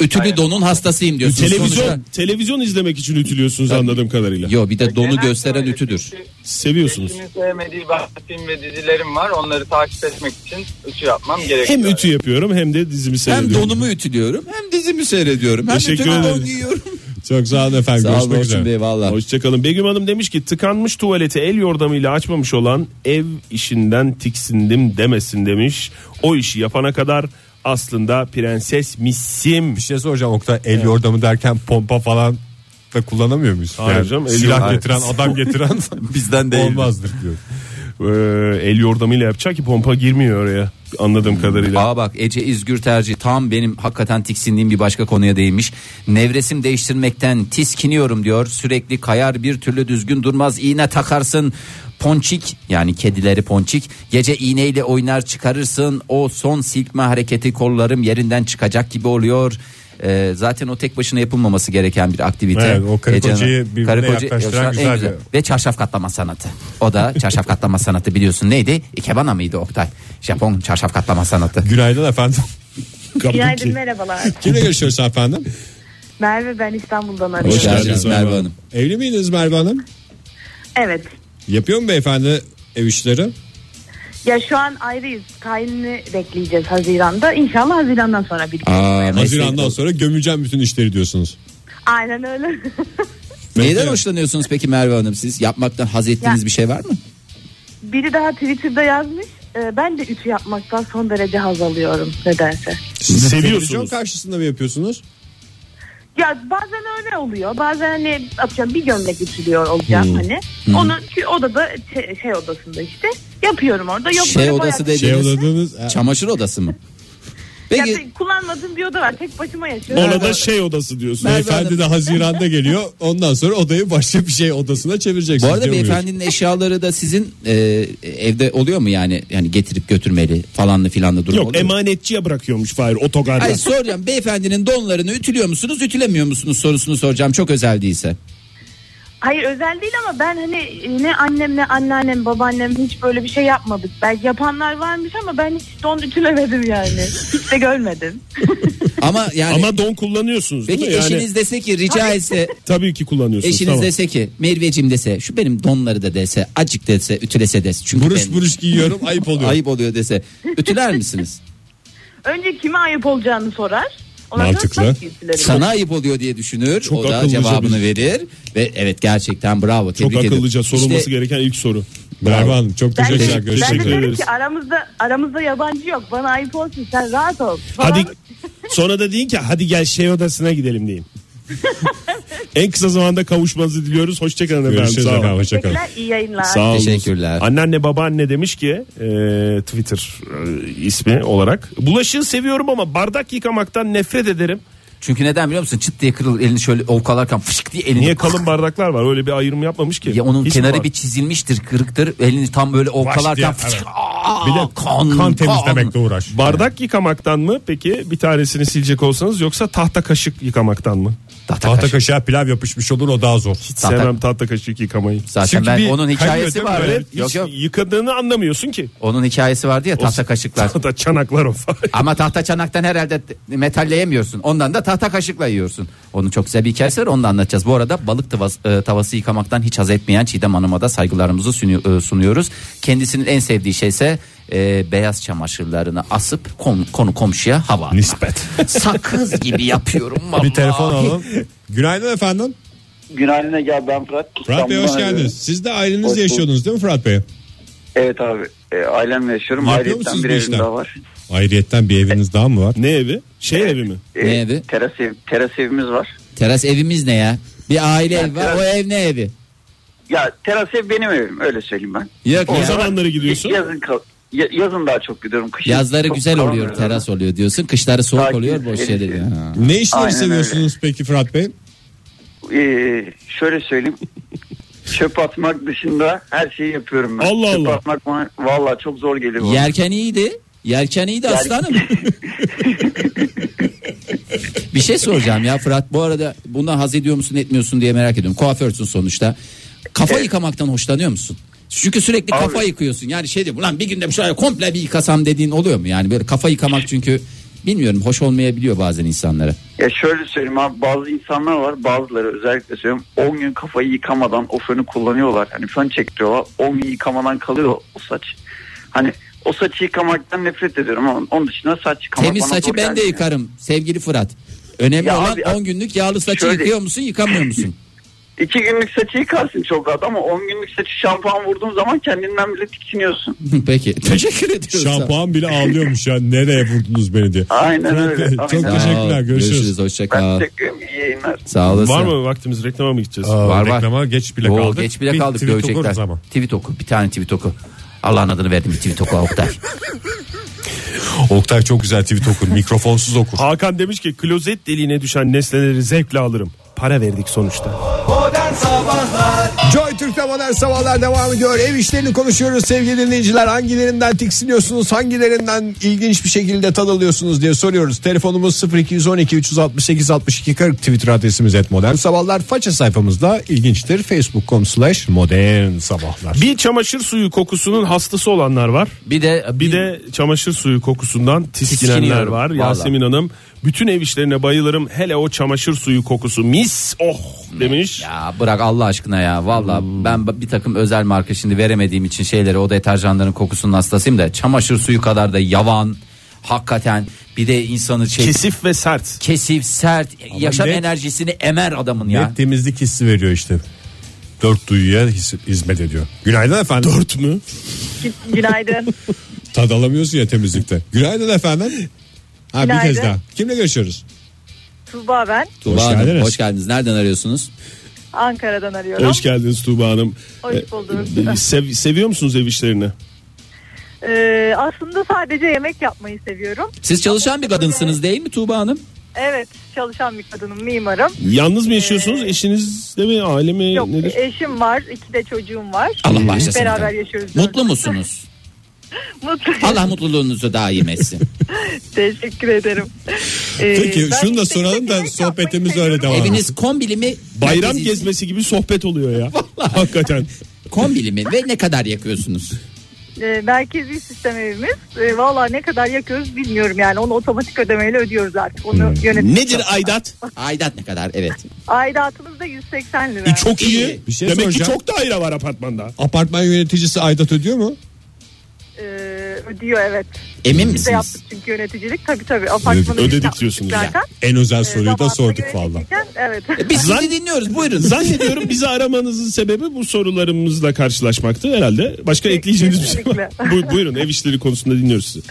S10: Ütülü
S9: Aynen.
S10: donun hastasıyım diyorsunuz.
S6: Televizyon
S10: Sonuçta-
S6: televizyon izlemek için ütülüyorsunuz anladığım kadarıyla.
S10: Yo bir de donu
S9: Genelde
S10: gösteren
S9: öyle.
S10: ütüdür.
S9: Çünkü
S6: Seviyorsunuz.
S9: eşimin sevmediği bazı film ve dizilerim var. Onları takip etmek için ütü yapmam gerekiyor.
S6: Hem ütü yapıyorum hem de dizimi
S10: Hem
S6: seyrediyorum.
S10: donumu ütülüyorum hem dizimi seyrediyorum. Hem
S6: Teşekkür
S10: ütülü don
S6: ederim.
S10: giyiyorum.
S2: Çok sağ olun efendim.
S10: Sağ olun
S2: Görüşmek
S10: Orçun
S2: üzere.
S10: Bey valla.
S6: Hoşçakalın. Begüm Hanım demiş ki tıkanmış tuvaleti el yordamıyla açmamış olan ev işinden tiksindim demesin demiş. O işi yapana kadar aslında prenses missim.
S2: Bir şey soracağım Oktay. El yordamı derken pompa falan da kullanamıyor muyuz?
S6: Hayır canım, el
S2: silah
S6: yordamı-
S2: getiren adam getiren
S5: Bizden değil.
S2: olmazdır diyor.
S6: Ee, el yordamıyla yapacak ki pompa girmiyor oraya anladığım kadarıyla.
S5: Aa bak Ece İzgür tercih tam benim hakikaten tiksindiğim bir başka konuya değinmiş. Nevresim değiştirmekten tiskiniyorum diyor. Sürekli kayar bir türlü düzgün durmaz iğne takarsın. Ponçik yani kedileri ponçik gece iğneyle oynar çıkarırsın o son silkme hareketi kollarım yerinden çıkacak gibi oluyor. Ee, zaten o tek başına yapılmaması gereken bir aktivite.
S2: Evet, o karı
S5: Ece'nin-
S2: kocayı birbirine yaklaştıran
S5: en
S2: güzel bir-
S5: ve çarşaf katlama sanatı. O da çarşaf katlama sanatı biliyorsun neydi? Ikebana mıydı Oktay? Japon çarşaf katlama sanatı.
S2: Günaydın efendim.
S8: Günaydın merhabalar.
S2: Kimle görüşüyoruz efendim?
S8: Merve ben İstanbul'dan
S10: Hoş
S8: arıyorum.
S10: geldiniz Merve Hanım.
S2: Evli miydiniz Merve Hanım?
S8: Evet.
S2: Yapıyor mu beyefendi ev işleri?
S8: Ya şu an ayrıyız. Tayinini bekleyeceğiz Haziran'da. İnşallah Haziran'dan sonra bir
S10: Aa,
S2: Hazirandan sonra gömeceğim bütün işleri diyorsunuz.
S8: Aynen öyle.
S10: Neyden
S2: Mesela-
S10: hoşlanıyorsunuz peki Merve Hanım siz? Yapmaktan haz ettiğiniz
S8: Ya-
S10: bir şey var mı?
S8: Biri daha Twitter'da yazmış. e, Ben de ütü yapmaktan son derece haz alıyorum nedense.
S2: Televizyon
S6: Seviyorsunuz.
S2: karşısında mı yapıyorsunuz?
S8: Ya bazen öyle oluyor. Bazen hani atıyorum bir gömlek ütülüyor
S10: Hmm.
S8: olacağım hani. Onu kü- odada şey- şey odasında işte yapıyorum orada. Yok
S10: Şey
S8: böyle
S10: odası
S8: bayağı-
S2: Şey
S10: Dediniz.
S2: odadınız.
S10: Çamaşır odası mı?
S8: Ya
S10: Peki
S8: te- kullanmadığım bir oda var. Tek başıma yaşıyorum.
S6: Ona da şey odası diyorsun.
S10: Merve
S2: Beyefendi de Haziran'da geliyor. Ondan sonra odayı başka bir şey odasına
S10: bu
S2: çevireceksiniz.
S10: arada
S2: diyor muyuz?
S10: beyefendinin eşyaları da sizin e, evde oluyor mu yani? Yani getirip götürmeli falanlı filanlı durum
S6: Yok
S10: oluyor mu?
S6: emanetçiye bırakıyormuş Fahir otogarda.
S10: Hayır soracağım beyefendinin donlarını ütülüyor musunuz ütülemiyor musunuz sorusunu soracağım çok özel değilse.
S8: Hayır özel değil ama ben hani
S11: e,
S8: ne annem ne anneannem babaannem hiç böyle bir şey yapmadık. Belki yapanlar varmış ama ben hiç don ütülemedim yani. Hiç de görmedim.
S5: Ama yani
S6: Ama don kullanıyorsunuz
S5: peki
S6: değil mi? Yani,
S5: eşiniz dese ki rica etse
S6: tabii ki kullanıyorsunuz.
S5: eşiniz
S6: tamam.
S5: dese ki Merveciğim dese şu benim donları da dese acık dese ütülese dese. Çünkü
S2: Buruş
S5: ben-
S2: buruş giyiyorum ayıp oluyor.
S5: Ayıp oluyor dese. Ütüler misiniz?
S11: Önce kime ayıp olacağını sorar. Ondan
S2: Mantıklı.
S11: sonra tabii ki ütülerim.
S5: Sana ayıp oluyor diye düşünür.
S6: Çok
S5: o da
S6: akıllıca
S5: cevabını verir. Ve evet gerçekten bravo.
S6: Çok
S5: Tebrik ederim.
S6: akıllıca sorulması
S5: İşte
S6: gereken ilk soru.
S2: Merve Hanım çok
S11: Ben de,
S2: teşekkürler.
S11: ben de
S2: Görüşmek üzere.
S11: derim
S6: ederiz.
S11: ki aramızda aramızda yabancı yok. Bana ayıp olsun sen rahat ol. Falan.
S6: Hadi sonra da deyin ki hadi gel şey odasına gidelim deyin. en kısa zamanda kavuşmanızı diliyoruz. Hoşçakalın efendim.
S2: Görüşürüz
S6: Sağ olun.
S2: efendim. Hoşçakalın.
S11: Teşekkürler, iyi yayınlar.
S6: Sağ olun.
S5: Teşekkürler.
S6: Anneanne babaanne demiş ki e, Twitter e, ismi olarak. Bulaşığı seviyorum ama bardak yıkamaktan nefret ederim.
S12: Çünkü neden biliyor musun? Çıt diye kırılır elini şöyle ovkalarken fışk diye elini
S6: Niye kalın bardaklar var? Öyle bir ayrım yapmamış ki.
S12: ya onun
S6: Hiç mi var?
S12: kenarı bir çizilmiştir, kırıktır. Elini tam böyle ovkalarken
S2: diye,
S12: fışk.
S2: evet.
S12: Aa,
S2: Bir de kan, temizlemekle uğraş.
S6: Bardak yıkamaktan mı peki bir tanesini silecek olsanız yoksa tahta kaşık yıkamaktan mı?
S12: Tahta
S2: Tahta
S12: kaşık.
S2: kaşığa pilav yapışmış olur o daha zor.
S6: Hiç
S12: Tahta-
S6: sevmem tahta kaşık yıkamayı.
S12: Zaten
S2: Çünkü
S12: ben
S2: bir
S12: onun
S2: kaynıyor
S12: hikayesi
S2: değil mi?
S12: var.
S2: Evet,
S12: Yok
S6: Hiç
S12: yok.
S6: yıkadığını anlamıyorsun ki.
S12: Onun hikayesi vardı ya tahta kaşıklar.
S6: O da çanaklar o falan.
S12: Ama tahta çanaktan herhalde metalleyemiyorsun. Ondan da tahta kaşıkla yiyorsun. Onun çok güzel bir hikayesi var onu da anlatacağız. Bu arada balık tavası, tavası yıkamaktan hiç haz etmeyen Çiğdem Hanım'a da saygılarımızı sunu- e, sunuyoruz. Kendisinin en sevdiği şey ise e, beyaz çamaşırlarını asıp kom- konu komşuya hava atmak.
S2: Nispet.
S12: Sakız gibi yapıyorum vallahi.
S2: Bir telefon alalım. Günaydın efendim.
S10: Günaydın Ege ben Fırat.
S2: Fırat Bey hoş geldiniz. Siz de ailenizle
S10: bulduk.
S2: yaşıyordunuz değil mi Fırat Bey?
S10: Evet abi e, ailemle yaşıyorum.
S2: Yapıyor
S10: Ailemden
S2: musunuz
S10: bir
S2: bu
S10: evim
S2: işler?
S10: daha var.
S2: Ayrıyetten bir eviniz daha mı var?
S6: Ne evi? Şey evi mi?
S10: E,
S5: Ne evi?
S10: Teras, ev, teras evimiz var.
S5: Teras evimiz ne ya? Bir aile evi var. O ev ne evi?
S10: Ya teras ev benim evim öyle söyleyeyim ben.
S5: Yok
S6: O
S5: ya.
S6: zamanları gidiyorsun.
S10: Yazın, kal- ya- yazın daha çok gidiyorum. Kışın
S5: Yazları
S10: çok
S5: güzel
S10: kalan
S5: oluyor,
S10: bir
S5: teras oluyor diyorsun. Kışları soğuk
S10: Sakin,
S5: oluyor, boş
S10: serince.
S5: yer diyor. Ha.
S2: Ne işleri
S10: Aynen
S2: seviyorsunuz peki Fırat Bey?
S10: Ee, şöyle söyleyeyim. Çöp atmak dışında her şeyi yapıyorum ben.
S6: Allah
S10: Çöp
S6: Allah.
S10: atmak bana- vallahi çok zor geliyor. bana.
S5: Yerken iyiydi. Yerken iyiydi aslanım. bir şey soracağım ya Fırat. Bu arada bundan haz ediyor musun etmiyorsun diye merak ediyorum. Kuaförsün sonuçta. Kafa yıkamaktan hoşlanıyor musun? Çünkü sürekli kafa yıkıyorsun. Yani şey diyor ulan bir günde şöyle komple bir yıkasam dediğin oluyor mu? Yani böyle kafa yıkamak çünkü bilmiyorum hoş olmayabiliyor bazen insanlara.
S10: Ya şöyle söyleyeyim abi bazı insanlar var bazıları özellikle söylüyorum 10 gün kafayı yıkamadan o fönü kullanıyorlar. Hani fön çektiriyorlar 10 gün yıkamadan kalıyor o saç. Hani o saçı yıkamaktan nefret ediyorum ama onun dışında saç yıkamak
S5: Temiz
S10: bana
S5: saçı
S10: zor
S5: ben de
S10: gelmiyor.
S5: yıkarım sevgili Fırat. Önemli
S10: Ya
S5: olan
S10: abi,
S5: 10 günlük yağlı saçı
S10: şöyle-
S5: yıkıyor musun yıkamıyor musun?
S10: İki günlük saçı yıkarsın çok rahat ama 10 günlük saçı şampuan vurduğun zaman kendinden bile tiksiniyorsun.
S5: Peki teşekkür ediyoruz.
S2: Şampuan bile ağlıyormuş ya nereye vurdunuz beni diye.
S10: Aynen
S2: Fırat
S10: öyle.
S2: Bey, çok
S10: aynen.
S2: teşekkür- Teşekkürler, görüşürüz.
S5: Görüşürüz hoşça
S10: Ben
S5: kal.
S10: teşekkür ederim. iyi yayınlar.
S5: Sağ olasın.
S6: Var mı vaktimiz reklama mı gideceğiz?
S12: Var, var.
S2: Reklama geç bile
S12: Oo,
S2: kaldık.
S12: Geç bile
S2: Bir
S12: kaldık
S2: tweet
S12: dövecekler.
S2: okuruz ama.
S12: Tweet oku bir tane tweet oku. Allah'ın adını verdim bir tweet oku Oktay.
S2: Oktay çok güzel tweet okur. Mikrofonsuz okur.
S6: Hakan demiş ki klozet deliğine düşen nesneleri zevkle alırım. Para verdik sonuçta.
S2: Joy Türk'te modern sabahlar devam ediyor. Ev işlerini konuşuyoruz sevgili dinleyiciler. Hangilerinden tiksiniyorsunuz, hangilerinden ilginç bir şekilde tadılıyorsunuz diye soruyoruz. Telefonumuz 0212 368 62 40 Twitter adresimiz et modern sabahlar. Faça sayfamızda ilginçtir. Facebook.com slash modern sabahlar.
S6: Bir çamaşır suyu kokusunun hastası olanlar var.
S12: Bir de
S6: Bir de çamaşır suyu kokusundan tiskinenler
S12: Tiskiniyorum,
S6: var.
S12: vallahi.
S6: Yasemin Hanım bütün ev işlerine bayılırım. Hele o çamaşır suyu kokusu mis oh demiş.
S12: Ya bırak Allah aşkına ya valla ben b- bir takım özel marka şimdi veremediğim için şeyleri o deterjanların kokusunun hastasıyım da çamaşır suyu kadar da yavan hakikaten bir de insanı şey, kesif,
S6: Kesif ve sert.
S12: sert yaşam
S2: net-
S12: enerjisini emer adamın ya.
S2: Net temizlik hissi veriyor işte. Dört duyuya his- hizmet ediyor. Günaydın efendim. Dört mü?
S11: Günaydın.
S2: Tad alamıyorsun ya temizlikte. Günaydın efendim. Ha, bir
S11: Günaydın.
S2: kez daha. Kimle görüşüyoruz?
S11: Tuğba ben.
S5: Tuğba
S2: Hoş
S5: Hanım,
S2: geldiniz.
S5: hoş geldiniz. Nereden arıyorsunuz?
S11: Ankara'dan arıyorum.
S6: Hoş geldiniz Tuğba Hanım.
S11: Hoş bulduk.
S6: Ee, sev- seviyor musunuz ev işlerini?
S11: Ee, aslında sadece yemek yapmayı seviyorum.
S5: Siz çalışan bir kadınsınız değil mi Tuğba Hanım?
S11: Evet çalışan bir kadınım mimarım.
S6: Yalnız mı yaşıyorsunuz? Eşinizle mi? Aile mi?
S11: Yok e,
S6: Nedir?
S11: eşim var iki de çocuğum var.
S5: Allah bağışlasın.
S11: Beraber
S5: efendim.
S11: yaşıyoruz.
S5: Mutlu musunuz?
S11: Mutlu.
S5: Allah mutluluğunuzu daim etsin.
S11: Teşekkür ederim. Ee,
S2: Peki,
S11: ben
S2: şunu da
S11: işte
S2: soralım da
S11: yemek
S2: sohbetimiz
S11: yapmayı
S2: öyle
S11: seviyorum.
S2: devam.
S5: Eviniz kombili mi?
S6: Bayram
S5: Merkezi-
S6: gezmesi gibi sohbet oluyor ya. Hakikaten.
S5: Kombili mi ve ne kadar yakıyorsunuz?
S11: e, merkezi sistem evimiz. E, Valla ne kadar yakıyoruz bilmiyorum yani. Onu otomatik ödemeyle ödüyoruz artık. Onu yönetim.
S6: Nedir aidat?
S3: Aidat ne kadar evet.
S11: Aidatımız da 180 lira.
S6: E, çok iyi.
S2: Bir şey
S6: Demek ki
S2: soracağım.
S6: çok daire var apartmanda.
S2: Apartman yöneticisi aidat ödüyor mu?
S11: E, ödüyor evet.
S3: Emin
S11: Biz de
S3: misiniz?
S11: yaptık çünkü yöneticilik. Tabii tabii. Apartmanı biz
S2: Ödedik
S11: yaptık
S2: diyorsunuz
S11: zaten. Ee,
S2: En özel soruyu da
S11: Zamanında
S2: sorduk valla.
S11: yöneticiyken, Evet.
S3: E, Biz sizi dinliyoruz buyurun.
S6: Zannediyorum bizi aramanızın sebebi bu sorularımızla karşılaşmaktı herhalde. Başka ekleyeceğiniz bir şey var.
S11: Kesinlikle.
S6: Bu- buyurun ev işleri konusunda dinliyoruz sizi.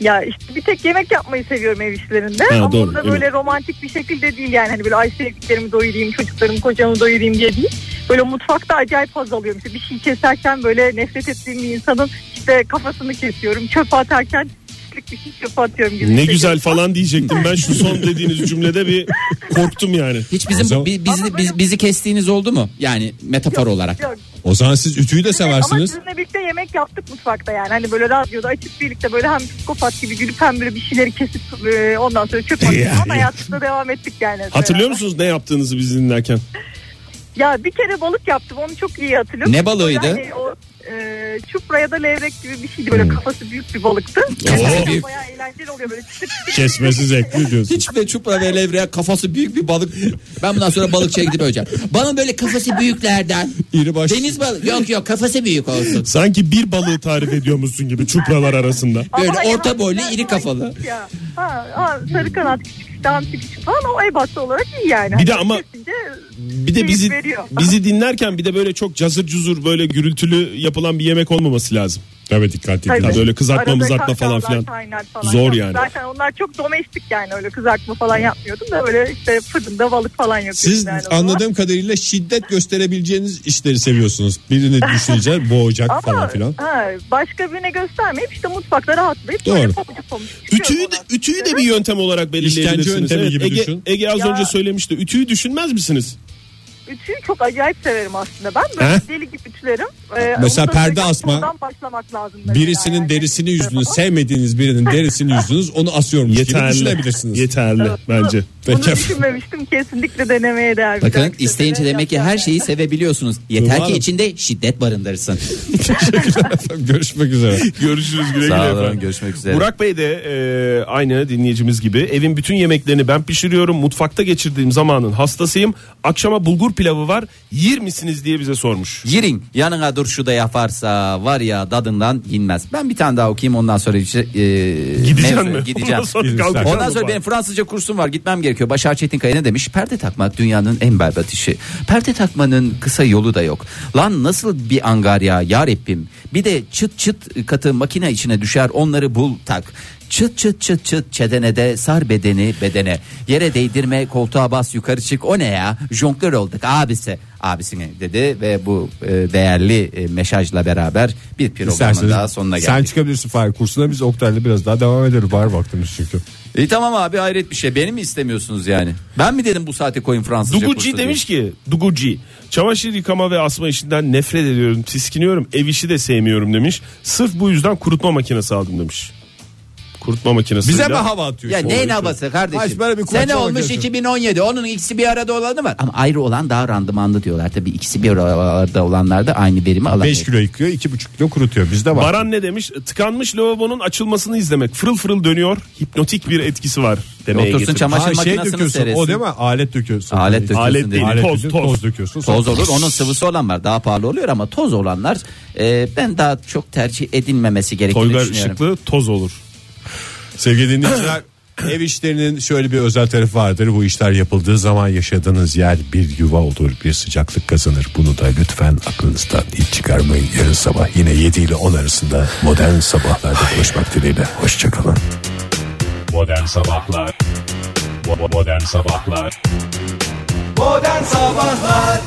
S11: Ya işte bir tek yemek yapmayı seviyorum ev işlerinde.
S6: Ha,
S11: Ama
S6: doğru,
S11: o da
S6: evet.
S11: böyle romantik bir şekilde değil yani. Hani böyle ay sevdiklerimi doyurayım, çocuklarımı kocamı doyurayım diye değil. Böyle mutfakta acayip haz alıyorum. İşte bir şey keserken böyle nefret ettiğim bir insanın işte kafasını kesiyorum. Çöpe atarken pislik bir şey çöpe atıyorum gibi.
S6: Ne
S11: hissediyorum.
S6: güzel falan diyecektim ben şu son dediğiniz cümlede bir korktum yani.
S3: Hiç bizim
S2: O zaman-
S3: bi- bizi, biz- bizi kestiğiniz oldu mu? Yani metafor olarak.
S11: Yok,
S2: O zaman siz ütüyü de
S11: Ama
S2: seversiniz.
S11: sizinle birlikte yemek yaptık mutfakta yani. Hani böyle radyoda açıp birlikte böyle hem psikopat gibi gülüp hem böyle bir şeyleri kesip e, ondan sonra çöp attık. Ama hayatımıza devam ettik yani.
S6: Hatırlıyor musunuz ne yaptığınızı biz dinlerken?
S11: Ya bir kere balık yaptım onu çok iyi hatırlıyorum.
S3: Ne balığıydı?
S11: Yani o, e, çupra ya da levrek gibi bir şeydi böyle
S3: Hmm.
S11: kafası büyük bir balıktı.
S3: Kafası büyük.
S11: Bayağı eğlenceli oluyor böyle çıtır çıtır.
S2: Kesmesi zevkli diyorsun.
S3: Hiç ve çupra ve levreye kafası büyük bir balık. Ben bundan sonra balıkçıya gidip öleceğim. Bana böyle kafası büyüklerden.
S2: İri baş.
S3: Deniz balığı. Yok yok kafası büyük olsun.
S6: Sanki bir balığı tarif ediyormuşsun gibi çupralar arasında.
S3: Böyle
S11: Ama yani
S3: orta boylu
S11: hafifler
S3: iri kafalı.
S11: Ya. Ha, ha, sarı kanat küçük işte hamsi küçük falan o ebatlı olarak iyi yani. Hani
S6: Bir de ama-
S11: Kesince
S6: Bir de
S11: keyif
S6: bizi
S11: veriyor.
S6: bizi dinlerken bir de böyle çok cazır cuzur böyle gürültülü yapılan bir yemek olmaması lazım.
S2: Tabii dikkatli.
S11: Tabii.
S6: böyle kızartma
S11: Arada
S6: mızartma falan
S11: kahkahalar
S6: filan.
S11: kaynar
S6: Zor yani.
S11: Zaten onlar çok domestik yani öyle kızartma falan yapmıyordum da böyle işte fırında balık falan yapıyordum.
S2: Siz
S11: yani o zaman.
S2: anladığım kadarıyla şiddet gösterebileceğiniz işleri seviyorsunuz. Birini düşüneceğiz boğacak falan filan.
S11: Ha, başka birine göstermeyip işte mutfakta rahatlayıp böyle
S2: Doğru.
S11: pamucu pamucu çıkıyorum
S6: Ütüyü de,
S11: ona.
S6: ütüyü de bir yöntem olarak belirleyebilirsiniz.
S2: İşkence yöntemi gibi
S6: Ege,
S2: düşün.
S6: Ege az
S11: Ya.
S6: önce söylemişti. Ütüyü düşünmez misiniz?
S11: Ütüyü çok acayip severim aslında. Ben böyle
S6: He?
S11: deli gibi ütülerim. Ee,
S2: Mesela
S11: onu da
S2: perde
S11: böyle
S2: asma.
S11: soldan başlamak lazım. mesela
S2: Birisinin
S11: yani.
S2: derisini yüzdünüz,
S11: Tamam.
S2: sevmediğiniz birinin derisini yüzdünüz, onu asıyormuş gibi düşünebilirsiniz.
S6: Yeterli bence.
S11: Bunu
S2: Peki.
S11: düşünmemiştim. Kesinlikle denemeye değer. bir
S3: Bakın
S11: dakika.
S3: isteyince demek
S11: Denemek
S3: ki her şeyi sevebiliyorsunuz. Yeter ki
S2: Umarım.
S3: içinde şiddet barındırsın.
S2: Görüşmek üzere.
S6: Görüşürüz güle güle
S5: Sağ olun,
S6: efendim.
S5: görüşmek üzere.
S6: Burak Bey de e, aynı dinleyicimiz gibi evin bütün yemeklerini ben pişiriyorum. Mutfakta geçirdiğim zamanın hastasıyım. Akşama bulgur pilavı var. Yer misiniz diye bize sormuş.
S5: Yirin yanına dur şu da yaparsa var ya dadından yenmez. Ben bir tane daha okuyayım ondan sonra işte, e,
S6: Gideceğim
S5: mevzuya
S6: mi?
S5: Gideceğim.
S6: Ondan sonra kalkacağım
S5: Ondan
S6: mı
S5: sonra
S6: falan?
S5: benim Fransızca kursum var gitmem gerekiyor. Başar Çetinkaya ne demiş? Perde takmak dünyanın en berbat işi. Perde takmanın kısa yolu da yok. Lan nasıl bir angarya ya Rabbim. Bir de çıt çıt katı makine içine düşer onları bul tak. Çıt çıt çıt çıt çedenede sar bedeni bedene. Yere değdirme koltuğa bas yukarı çık o ne ya? Jonglör olduk abisi. Abisine dedi ve bu e, değerli e, mesajla beraber bir programın
S2: İsterseniz
S5: daha sonuna geldik.
S2: sen çıkabilirsin Fahir kursuna biz Oktay'la biraz daha devam ederiz. Var vaktimiz çünkü.
S5: İyi tamam abi hayret bir şey. Beni mi istemiyorsunuz yani? Ben mi dedim bu saate koyun Fransızca kursu
S6: Duguci
S5: diye?
S6: demiş ki Duguci çamaşır yıkama ve asma işinden nefret ediyorum tiskiniyorum ev işi de sevmiyorum demiş. Sırf bu yüzden kurutma makinesi aldım demiş. Kurutma makinesi.
S2: Bize mi hava atıyor?
S5: Ya
S2: şimdi?
S5: neyin havası
S2: Hayır,
S5: kardeşim?
S2: böyle bir kursa
S5: Sene olmuş
S2: bakıyorsun.
S5: 2017. Onun ikisi bir arada olanı var. Ama ayrı olan daha randımanlı diyorlar. Tabii ikisi bir arada olanlar da aynı verimi alamıyor.
S2: 5 kilo yıkıyor 2,5 kilo kurutuyor bizde var.
S6: Baran ne demiş? Tıkanmış lavabonun açılmasını izlemek. Fırıl fırıl dönüyor. Hipnotik bir etkisi var demeye
S5: Otursun
S6: getirmiş.
S5: çamaşır
S2: Ha, şey
S5: makinesini
S2: döküyorsun
S5: seyretsin.
S2: o değil mi? Alet döküyorsun.
S5: Alet döküyorsun
S6: Alet
S5: değil.
S6: değil.
S2: Alet
S6: Toz,
S2: döküyorsun,
S6: toz.
S2: toz döküyorsun.
S5: Toz olur onun sıvısı olan var daha pahalı oluyor ama toz olanlar e, ben daha çok tercih edilmemesi gerektiğini
S6: Toygar
S5: düşünüyorum.
S6: Işıklı toz olur.
S2: Sevgili dinleyiciler ev işlerinin şöyle bir özel tarafı vardır. Bu işler yapıldığı zaman yaşadığınız yer bir yuva olur, bir sıcaklık kazanır. Bunu da lütfen aklınızdan hiç çıkarmayın. Yarın sabah yine 7 ile 10 arasında modern sabahlarda buluşmak dileğiyle. Hoşçakalın. Modern Sabahlar Modern Sabahlar
S1: Modern Sabahlar